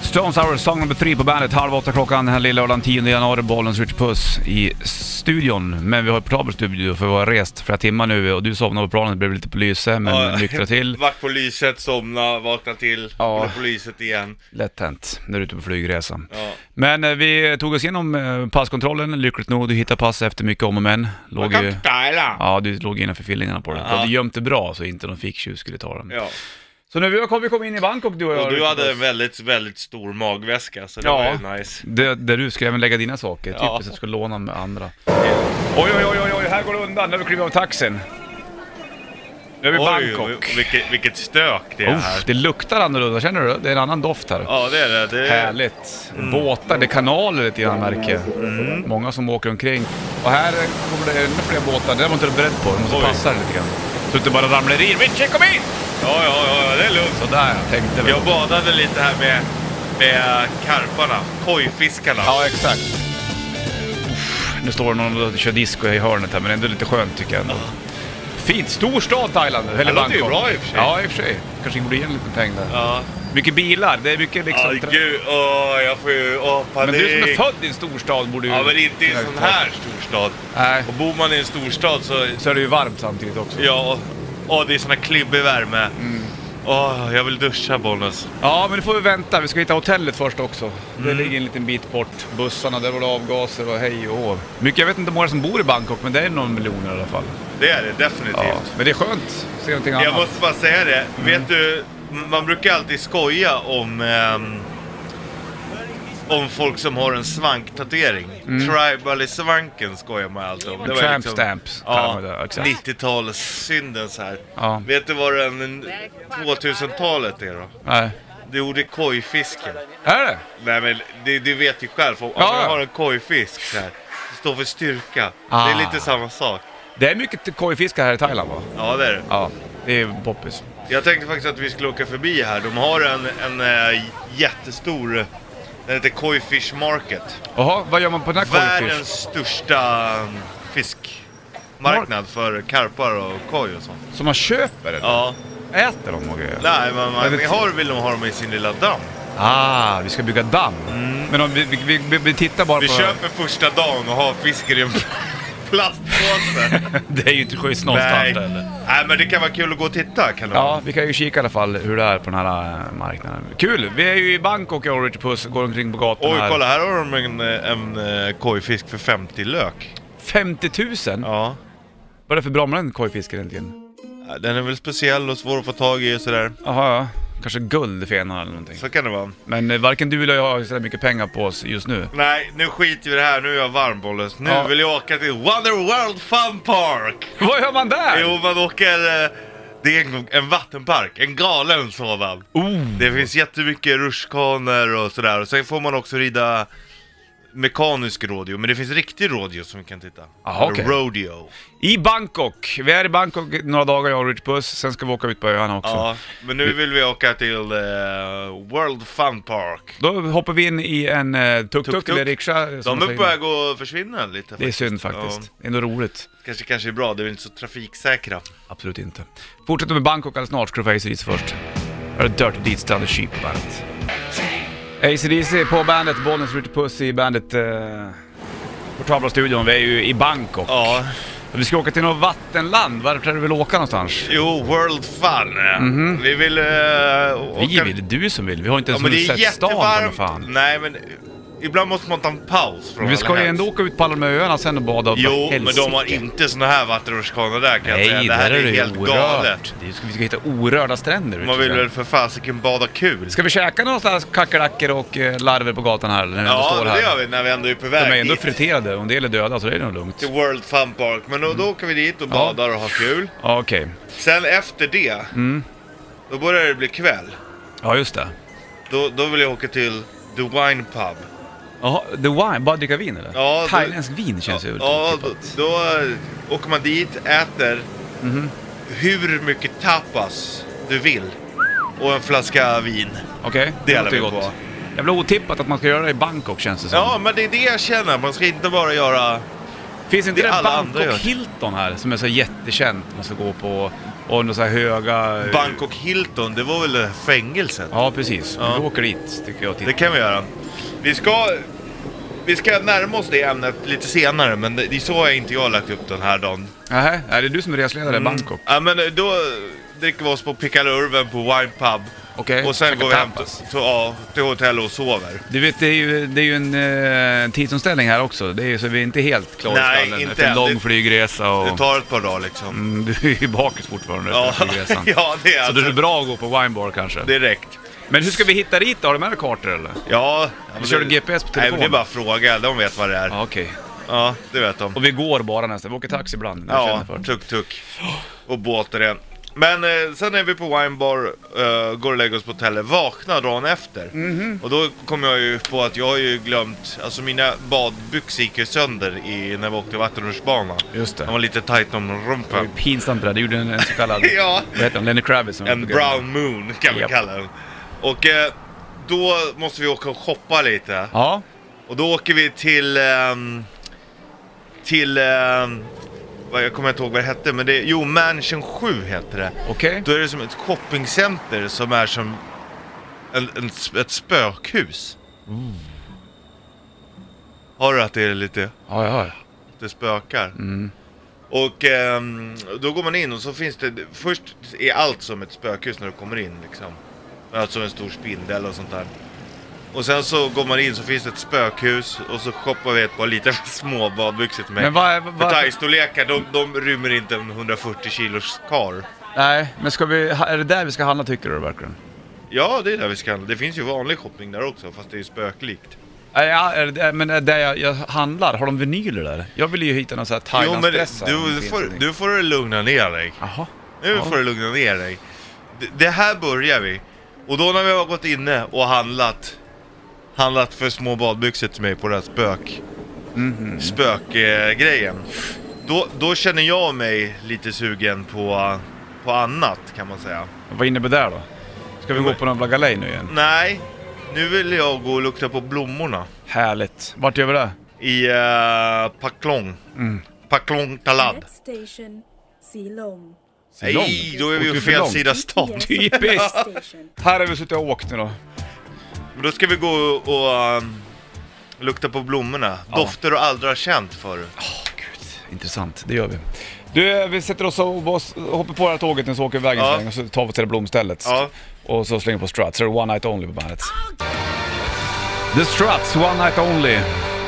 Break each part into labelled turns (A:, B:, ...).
A: Stones Hour, song number three på bandet. Halv åtta klockan den här lilla lördagen 10 januari, Bollens Rich Puss i studion. Men vi har ju portabel studio för vi har rest flera timmar nu och du somnade på planet, det blev lite på lyse men
B: Ja,
A: nyktrade till.
B: Vart på lyset, somna, vakna till,
A: Ja.
B: blev på lyset igen.
A: Lätt hänt när du är ute på flygresa.
B: Ja.
A: Men eh, vi tog oss igenom eh, passkontrollen, lyckligt nog. Du hittade pass efter mycket om och men.
B: Man
A: Låg
B: kan
A: ju...
B: inte ställa.
A: Ja, du låg innanför fillingarna på den.
B: Ja.
A: Du gömde bra så inte någon ficktjuv skulle ta den.
B: Ja.
A: Så nu vi kom, vi kom in i Bangkok du och jag.
B: Och du
A: Richard
B: hade
A: Puss.
B: en väldigt, väldigt stor magväska, så det
A: Ja.
B: var ju nice.
A: Det, där du ska även lägga dina saker,
B: Ja.
A: typiskt att du ska låna med andra. Oj, oj, oj, oj, oj, här går det undan. Nu kliver vi av taxin. Nu är vi i Bangkok.
B: Oj, vilket, vilket stök det är här.
A: Uff, det luktar annorlunda, känner du det? Det är en annan doft här.
B: Ja, det är det. det Mm. är...
A: Härligt. Båtar, det är kanaler lite grann märker jag.
B: Mm.
A: Många som åker omkring. Och här kommer det ännu fler båtar. Det där var inte du beredd på. Du måste
B: Oj.
A: passa dig lite grann. Så att du bara ramlar in. Richie, kom in!
B: Ja, ja, ja, ja, det är lugnt.
A: Sådär, jag tänkte väl.
B: Jag badade lite här med, med karparna, kojfiskarna.
A: Ja, exakt. Uff, nu står det någon och kör disco i hörnet här, men ändå lite skönt tycker jag ändå. Fint, stor stad Thailand nu, eller
B: Det låter ju
A: Bangkok.
B: bra i och för sig.
A: Ja, i och för sig. Kanske borde ge en liten peng där.
B: Ja.
A: Mycket bilar, det är mycket liksom...
B: Ja, gud, åh, jag får ju, åh,
A: men
B: panik.
A: du som är född i en storstad borde ju...
B: Ja, men inte i en sån
A: kunna-
B: här storstad.
A: Nej,
B: Och bor man i en storstad så,
A: så är det ju varmt samtidigt också.
B: ja, åh, det är sån här klibbig värme. Åh, jag vill duscha, Bollnäs.
A: Ja, men nu får vi vänta. Vi ska hitta hotellet först också.
B: Mm.
A: Det ligger en liten bit bort. Bussarna, där var det avgaser och hej och hå. Mycket, jag vet inte hur många som bor i Bangkok, men det är någon miljon i alla fall.
B: Det är det
A: Ja.
B: definitivt.
A: Men det är skönt att se någonting annat.
B: Jag måste bara säga det, vet du, man brukar alltid skoja om ehm, om folk som har en svanktatuering. Tribal-svanken skojar man alltid om. var liksom-
A: Tramp stamps kallar
B: Ja,
A: man det, exakt.
B: 90-talssynden så här.
A: Ja.
B: Vet du vad den 2000-talet är då?
A: Nej.
B: Det gjorde kojfisken.
A: Är det?
B: Nej men det, du vet ju själv, om
A: Ja.
B: man har en kojfisk så här. Det står för styrka.
A: Ah.
B: Det är lite samma sak.
A: Det är mycket kojfiskar här i Thailand va?
B: Ja det är det.
A: Ja, det är poppis.
B: Jag tänkte faktiskt att vi skulle åka förbi här. De har en, en eh, jättestor, eh, den heter Koi Fish Market.
A: Jaha, vad gör man på den här kojfisk?
B: Världens största mm, fiskmarknad för karpar och koj och sånt.
A: Som man köper eller?
B: Ja,
A: Äter de och grejer?
B: nej men man,
A: Men det-
B: har, vill de ha dem i sin lilla damm.
A: Ah, vi ska bygga damm. Men om vi, vi, vi, vi, vi tittar bara
B: Mm.
A: på...
B: Vi köper första dagen och har fisken i en plastpåse.
A: det är ju inte schysst någonstans eller?
B: nej, men det kan vara kul att gå och titta kan det vara.
A: Ja, vi kan ju kika i alla fall hur det är på den här eh, marknaden. Kul! Vi är ju i Bangkok, jag och Richard Puss går omkring på gatorna
B: Oj,
A: här.
B: kolla här har de en, eh, en eh, kojfisk för 50 lök.
A: 50 000?
B: Ja.
A: Vad är det för bra med den kojfisken egentligen?
B: Den är väl speciell och svår att få tag i och sådär.
A: Jaha, ja. Kanske guldfena eller någonting.
B: Så kan det vara.
A: Men eh, varken du eller jag har så där mycket pengar på oss just nu.
B: Nej, nu skiter vi i det här. Nu är jag varm, Bollnäs. Nu
A: Ja.
B: vill jag åka till Wonder World Fun Park!
A: Vad gör man där?
B: Jo, man åker... eh, Det är en, en vattenpark, en galen sådan.
A: Oh.
B: Det finns jättemycket rutschkanor och sådär. Och sen får man också rida mekanisk rodeo, men det finns riktig rodeo som vi kan titta.
A: Jaha, okej.
B: Rodeo.
A: I Bangkok. Vi är i Bangkok några dagar jag och Rich Puss. Sen ska vi åka ut på öarna också.
B: Ja, men nu vill vi åka till eh, World Fun Park.
A: Då hoppar vi in i en eh, tuk-tuk
B: Tuk-tuk.
A: eller rikscha. som
B: De
A: man
B: är
A: säger.
B: på väg att försvinna lite
A: Det är synd faktiskt. Det är ändå roligt.
B: Ja, kanske, kanske är bra, det är väl inte så trafiksäkra.
A: Absolut inte. Fortsätter med Bangkok alldeles snart. Ska du få ACDC först. Här är Dirty Deeds Thunder Sheep på bandet. ACDC på bandet. Bollnäs Ritty Puss i bandet. Eh, Portabla studion. Vi är ju i Bangkok.
B: Ja,
A: Vi ska åka till något vattenland. Vart är det vi vill åka någonstans?
B: jo, World Fun. Vi vill uh,
A: Mhm. Vi vill, du som vill. Vi har inte
B: Ja,
A: ens
B: men det
A: hunnit
B: är
A: sett stan för
B: jättevarmt.
A: fan.
B: Nej, men ibland måste man ta en paus från
A: Men vi
B: all
A: ska ju
B: helst.
A: ändå åka ut på alla de här öarna sen och bada.
B: Jo,
A: Vad
B: men de har
A: helsike.
B: inte såna här vattenrutschkanor där kan jag
A: Nej,
B: säga. Det här
A: där
B: är,
A: det
B: helt
A: orört.
B: galet.
A: Det är- ska- Vi ska hitta orörda stränder.
B: Man vill
A: Richard.
B: väl för fasiken bada kul.
A: Ska vi käka någonstans kackerlackor och eh, larver på gatan här? Eller när vi ändå
B: Ja,
A: står
B: men
A: här?
B: det gör vi när vi ändå är på väg
A: De är ändå
B: hit.
A: friterade, en del är döda så det är nog lugnt.
B: Till World Fun Park. Men då, då åker vi dit och badar och har kul.
A: Ja, okej.
B: Sen efter det, då börjar det bli kväll.
A: Ja, just det.
B: Då, då vill jag åka till The Wine Pub.
A: Jaha, the wine, bara dricka vin eller?
B: Ja, det-
A: Thailändsk vin känns ju
B: Ja, då,
A: otippat.
B: då eh, åker man dit, äter hur mycket tapas du vill och en flaska vin.
A: Okej,
B: Det
A: låter
B: är
A: ju
B: vi på.
A: Jävla otippat att man ska göra det i Bangkok känns det som.
B: Ja, men det är det jag känner. Man ska inte bara göra...
A: Finns inte
B: det
A: det,
B: alla andra
A: Bangkok
B: gör.
A: Hilton här som är så jättekänt man ska gå på? Och några så här höga... eh,
B: Bangkok Hilton, det var väl det här fängelset?
A: Ja, precis.
B: Ja.
A: Vi åker dit, tycker jag.
B: Det
A: Titta.
B: kan vi göra. Vi ska, vi ska närma oss det ämnet lite senare, men det, det är så har inte jag lagt upp den här dagen.
A: Nähä, är det du som är resledare i Bangkok?
B: Ja, men eh, då dricker vi oss på Pickalurven på Wine Pub.
A: Okej.
B: Och sen
A: Käka
B: går vi hem till,
A: tapas.
B: till, ja, till hotellet och sover.
A: Du vet, det är ju, det är ju en eh, tidsomställning här också. Det är ju, så vi är inte helt klara
B: Nej,
A: i skallen
B: inte
A: efter en
B: än.
A: lång
B: Det-
A: flygresa. Och...
B: Det tar ett par dagar liksom.
A: Mm, du är ju bakis fortfarande
B: Ja,
A: efter flygresan.
B: ja det är
A: Så det är
B: alltså,
A: bra att gå på winebar kanske.
B: direkt.
A: Men hur ska vi hitta dit då? Har du med dig kartor eller?
B: Ja,
A: Vi kör en GPS på
B: Nej, men det är
A: telefonen.
B: bara att fråga. De vet vad det är. Ja,
A: Ja, okej.
B: det vet de.
A: Och vi går bara nästan. Vi åker taxi ibland. när vi
B: Ja, typ
A: känner för det.
B: tuk-tuk. Och båt är det. Men eh, sen är vi på Winebar, eh, går och lägger oss på hotellet, vaknar dagen efter.
A: Mhm.
B: Och då kommer jag ju på att jag har ju glömt, alltså mina badbyxor gick ju sönder i, när vi åkte vattenrutschbana.
A: Just det.
B: De var lite tight om
A: Det var ju
B: rumpen.
A: pinsamt det där. Det gjorde en, en så kallad...
B: Ja.
A: Vad heter han? Lenny Kravitz. som
B: En
A: brukar-
B: brown moon kan vi
A: Japp.
B: kalla den. Och eh, då måste vi åka och shoppa lite.
A: Ja.
B: Och då åker vi till... ehm, till... ehm, vad, jag kommer inte ihåg vad det hette, men det... Jo, Mansion 7 heter det.
A: Okej.
B: Då är det som ett shoppingcenter som är som en, en, sp- ett spökhus. Har du att det är lite,
A: Ja, ja. ja.
B: det spökar?
A: Mm.
B: Och ehm, då går man in och så finns det, först är allt som ett spökhus när du kommer in liksom. Alltså en stor spindel och sånt där. Och sen så går man in så finns det ett spökhus och så shoppar vi ett par lite små badbyxor till mig.
A: Men vad är... Vad,
B: För thaistorlekar, de, de rymmer inte en 140 kilos kar.
A: nej, men ska vi... Är det där vi ska handla tycker du verkligen?
B: Ja, det är där vi ska handla. Det finns ju vanlig shopping där också, fast det är ju spöklikt.
A: Nej, Ja, är det, men är det där jag, jag handlar, har de vinyler där? Jag vill ju hitta någon sån här
B: Jo, men
A: thailandsdressar. om det
B: du
A: finns
B: får,
A: någonting.
B: du får du lugna ner dig.
A: Jaha.
B: Nu
A: Ja.
B: får du lugna ner dig. D- Det här börjar vi. Och då när vi har gått inne och handlat, handlat för små badbyxor till mig på den här spök,
A: Mhm.
B: spökgrejen. Då, då känner jag mig lite sugen på, på annat kan man säga.
A: Vad innebär det då? Ska vi
B: Jo,
A: gå
B: men-
A: på någon Blagalej nu igen?
B: Nej, nu vill jag gå och lukta på blommorna
A: Härligt. Vart gör vi det?
B: i uh, Paklong.
A: Mm.
B: Paklong Talad.
C: Next station, Silong.
A: Silong?
B: Nej, då är vi
A: Åker
B: ju
A: för
B: fel
A: långt?
B: sida stan.
C: GPS
A: Typiskt.
C: station.
A: Här har vi suttit och åkt nu då.
B: Men Då ska vi gå och um, lukta på blommorna. Dofter du aldrig har känt förr.
A: Gud, intressant. Det gör vi. Du, vi sätter oss och boss- hoppar på det här tåget nu så åker vi iväg en
B: Ja.
A: sväng och så tar vi till det blomstället.
B: Ja.
A: Och så slänger vi på Struts. Så är det One Night Only på bandet. The Struts, One Night Only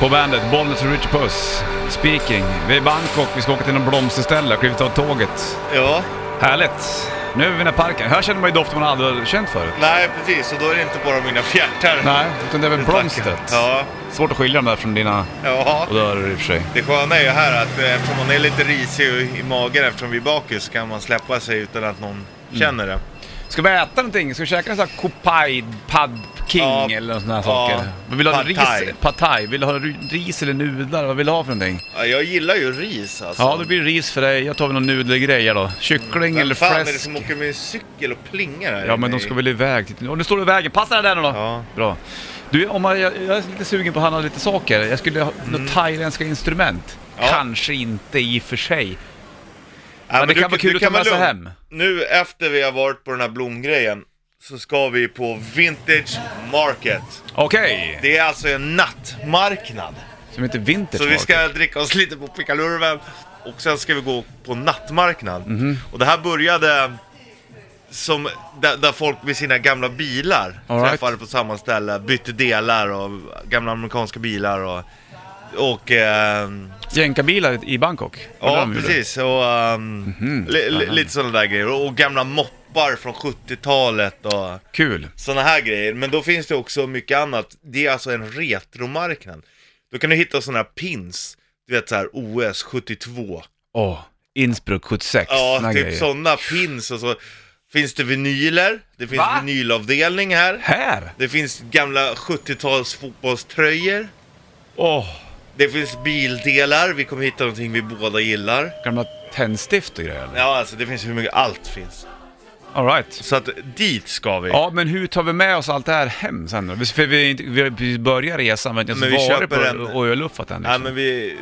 A: på bandet. Bollnäs och Richard Puss. Speaking. Vi är i Bangkok, vi ska åka till någon blomsterställe, klivit av tåget.
B: Ja,
A: Härligt. Nu är vi i den här parken. Här känner man ju dofter man aldrig känt förut.
B: nej precis. Och då är det inte bara mina fjärtar.
A: Nej, utan det är väl
B: Utan-
A: blomstret.
B: Ja,
A: Svårt att skilja dem där från dina
B: ja.
A: odörer i och för sig.
B: Det sköna är ju här att eh, eftersom man är lite risig i- i magen eftersom vi är bakis så kan man släppa sig utan att någon
A: Mm.
B: känner det.
A: Ska vi äta någonting? Ska vi käka en sån här kopai, pad king
B: Ja.
A: eller någon sån här
B: Ja.
A: saker? Vad Vill du ha
B: Pad thai.
A: ris? Pad thai. Vill du ha ri- ris eller nudlar? Vad vill du ha för någonting?
B: Ja, jag gillar ju ris alltså.
A: Ja, då blir det ris för dig. Jag tar väl någon nudelgrej då. Kyckling eller
B: Vem fan är det
A: fläsk.
B: som åker med cykel och plingar här
A: Ja,
B: inne
A: men de
B: i-
A: ska väl iväg. till- Och nu står du i vägen. Passa den där nu då.
B: Ja.
A: Bra. Du, om man, jag, jag är lite sugen på att handla lite saker. Jag skulle ha några thailändska instrument.
B: Mm. Ja.
A: Kanske inte i och för sig.
B: Ja,
A: men det kan vara kul att ta
B: kan
A: med sig
B: lugn.
A: hem.
B: Nu efter vi har varit på den här blomgrejen så ska vi på Vintage Market.
A: Okej,
B: Det är alltså en nattmarknad.
A: som heter Vintage
B: Så vi
A: Market.
B: ska dricka oss lite på pickalurven och sen ska vi gå på nattmarknad.
A: Mhm.
B: Och det här började som där, där folk med sina gamla bilar
A: All right.
B: träffade på samma ställe, bytte delar och gamla amerikanska bilar och... Och... ehm,
A: Jänkarbilar i Bangkok. Vad
B: Ja,
A: de gjorde.
B: precis. Och, ehm, li, li, lite sådana där grejer. Och, och gamla moppar från 70-talet och
A: Kul.
B: sådana här grejer. Men då finns det också mycket annat. Det är alltså en retromarknad. Då kan du hitta sådana här pins. Du vet så här OS 72.
A: Åh, Innsbruck 76.
B: Ja,
A: såna
B: typ
A: grejer.
B: sådana pins och så. Finns det vinyler? Det finns
A: Va?
B: vinylavdelning här.
A: Här?
B: Det finns gamla 70-tals fotbollströjor.
A: Åh,
B: Det finns bildelar. Vi kommer hitta någonting vi båda gillar.
A: gamla tändstift och grejer eller?
B: Ja, alltså det finns hur mycket allt finns.
A: All right.
B: Så att dit ska vi.
A: Ja, men hur tar vi med oss allt det här hem sen då? För vi, har inte- vi har precis börjat resan, men inte
B: Men vi
A: ens varit
B: köper
A: på
B: en-
A: och öluffat än
B: Nej
A: liksom.
B: men vi...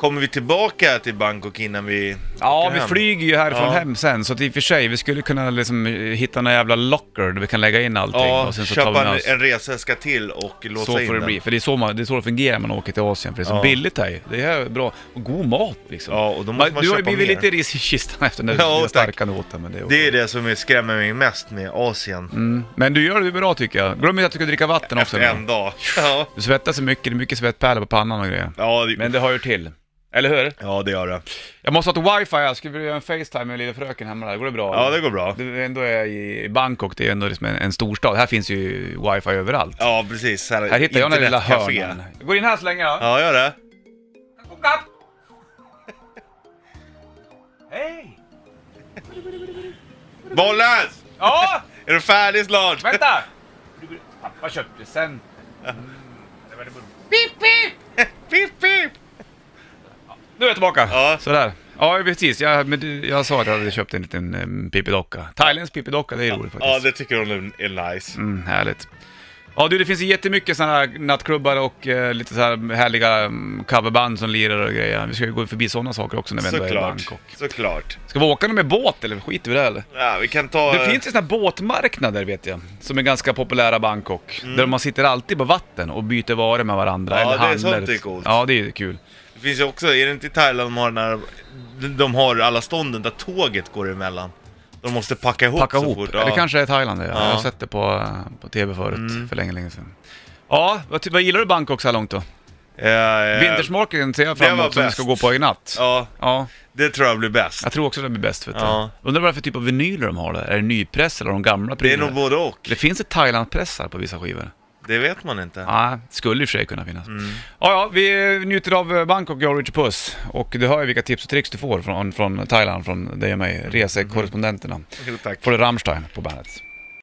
B: Kommer vi tillbaka till Bangkok innan vi...
A: Ja,
B: åker
A: vi
B: hem?
A: flyger ju härifrån
B: Ja.
A: hem sen, så att i och för sig, vi skulle kunna liksom eh, hitta några jävla locker där vi kan lägga in allting
B: Ja,
A: och sen så tar vi
B: köpa
A: med
B: en,
A: oss.
B: en reseväska till och låsa
A: Så
B: in
A: får det
B: den.
A: bli, för det är, så man, det är så det fungerar när man åker till Asien, för det är så
B: Ja.
A: billigt här ju. Det här är bra, och god mat liksom.
B: Ja, och då
A: Man,
B: måste man
A: du har ju
B: köpa
A: blivit
B: mer.
A: lite ris i kistan efter den där
B: Ja,
A: lilla
B: tack.
A: starka noten, men det är okej.
B: Det är det som är- skrämmer mig mest med Asien.
A: Mm. Men du gör det bra tycker jag. Glöm inte att du ska dricka vatten också.
B: Efter
A: nu.
B: en dag. Ja,
A: Du svettas så mycket, det är mycket svettpärlor på pannan och grejer.
B: ja, det,
A: Men det hör ju till. Eller hur?
B: ja, det gör det.
A: Jag måste ha ett wifi, jag skulle vilja göra en facetime med lilla fröken hemma där, går det bra?
B: Ja, det går bra.
A: Du, ändå är jag i Bangkok, det är ändå liksom en, en storstad. Här finns ju wifi överallt.
B: Ja, precis. Här,
A: Här hittar jag den lilla
B: internetcafé.
A: hörnan. Jag går in här så länge jag.
B: Ja, gör det.
A: Hej!
B: Bollens!
A: Ja,
B: Är du färdig snart?
A: vänta! Pappa köpte Mm, sen.
B: Pip, pip!
A: Nu är jag tillbaka.
B: Ja.
A: Sådär. Ja, precis. Jag, men du- jag sa att jag hade köpt en liten um, pippidocka. Thailändsk pippidocka, det är roligt faktiskt.
B: Ja, det tycker hon är nice.
A: Mm, härligt. Ja du, det finns ju jättemycket sådana här nattklubbar och eh, lite så här härliga mm, coverband som lirar och grejer. Vi ska ju gå förbi sådana saker också när vi ändå är i
B: Såklart.
A: Bangkok.
B: Såklart.
A: Ska vi åka med båt eller skiter vi i det eller?
B: Ja, vi kan ta...
A: Det finns ju sådana här båtmarknader vet jag, som är ganska populära i Bangkok. Där man sitter alltid på vatten och byter varor med varandra.
B: Mm. Ja,
A: eller
B: det är
A: handlar.
B: sånt det är coolt.
A: Ja, det är ju kul.
B: Det finns ju också, är det inte i Thailand de har, den här, de har alla stånden där tåget går emellan? De måste packa ihop
A: Packa
B: så
A: ihop.
B: fort.
A: Eller kanske är Thailand det. Ja. Jag har
B: Ja. Mm.
A: sett det på, eh, på TV förut, för länge, länge sedan. Ja, vad, ty- vad gillar du Bangkok så här långt då?
B: Ja, ja.
A: Vintersmoken ser jag fram
B: Eh, det var
A: emot som vi
B: bäst.
A: ska gå på i natt.
B: Ja,
A: Ja,
B: det tror jag blir bäst.
A: jag tror också det blir bäst. Vet du.
B: Ja.
A: Undrar vad det är för typ av vinyler de har där? Är det nypress eller de gamla
B: Det är
A: prylarna?
B: nog både och.
A: Det finns ett Thailand-pressar på vissa skivor.
B: Det vet man inte.
A: Ja, skulle i och för sig kunna finnas. Ja, ja, vi njuter av eh, Bangkok, jag och Richard Puss. Och du hör ju vilka tips och tricks du får från, från Thailand, från dig och mig, resekorrespondenterna.
B: Tack.
A: Får du Rammstein på bandet.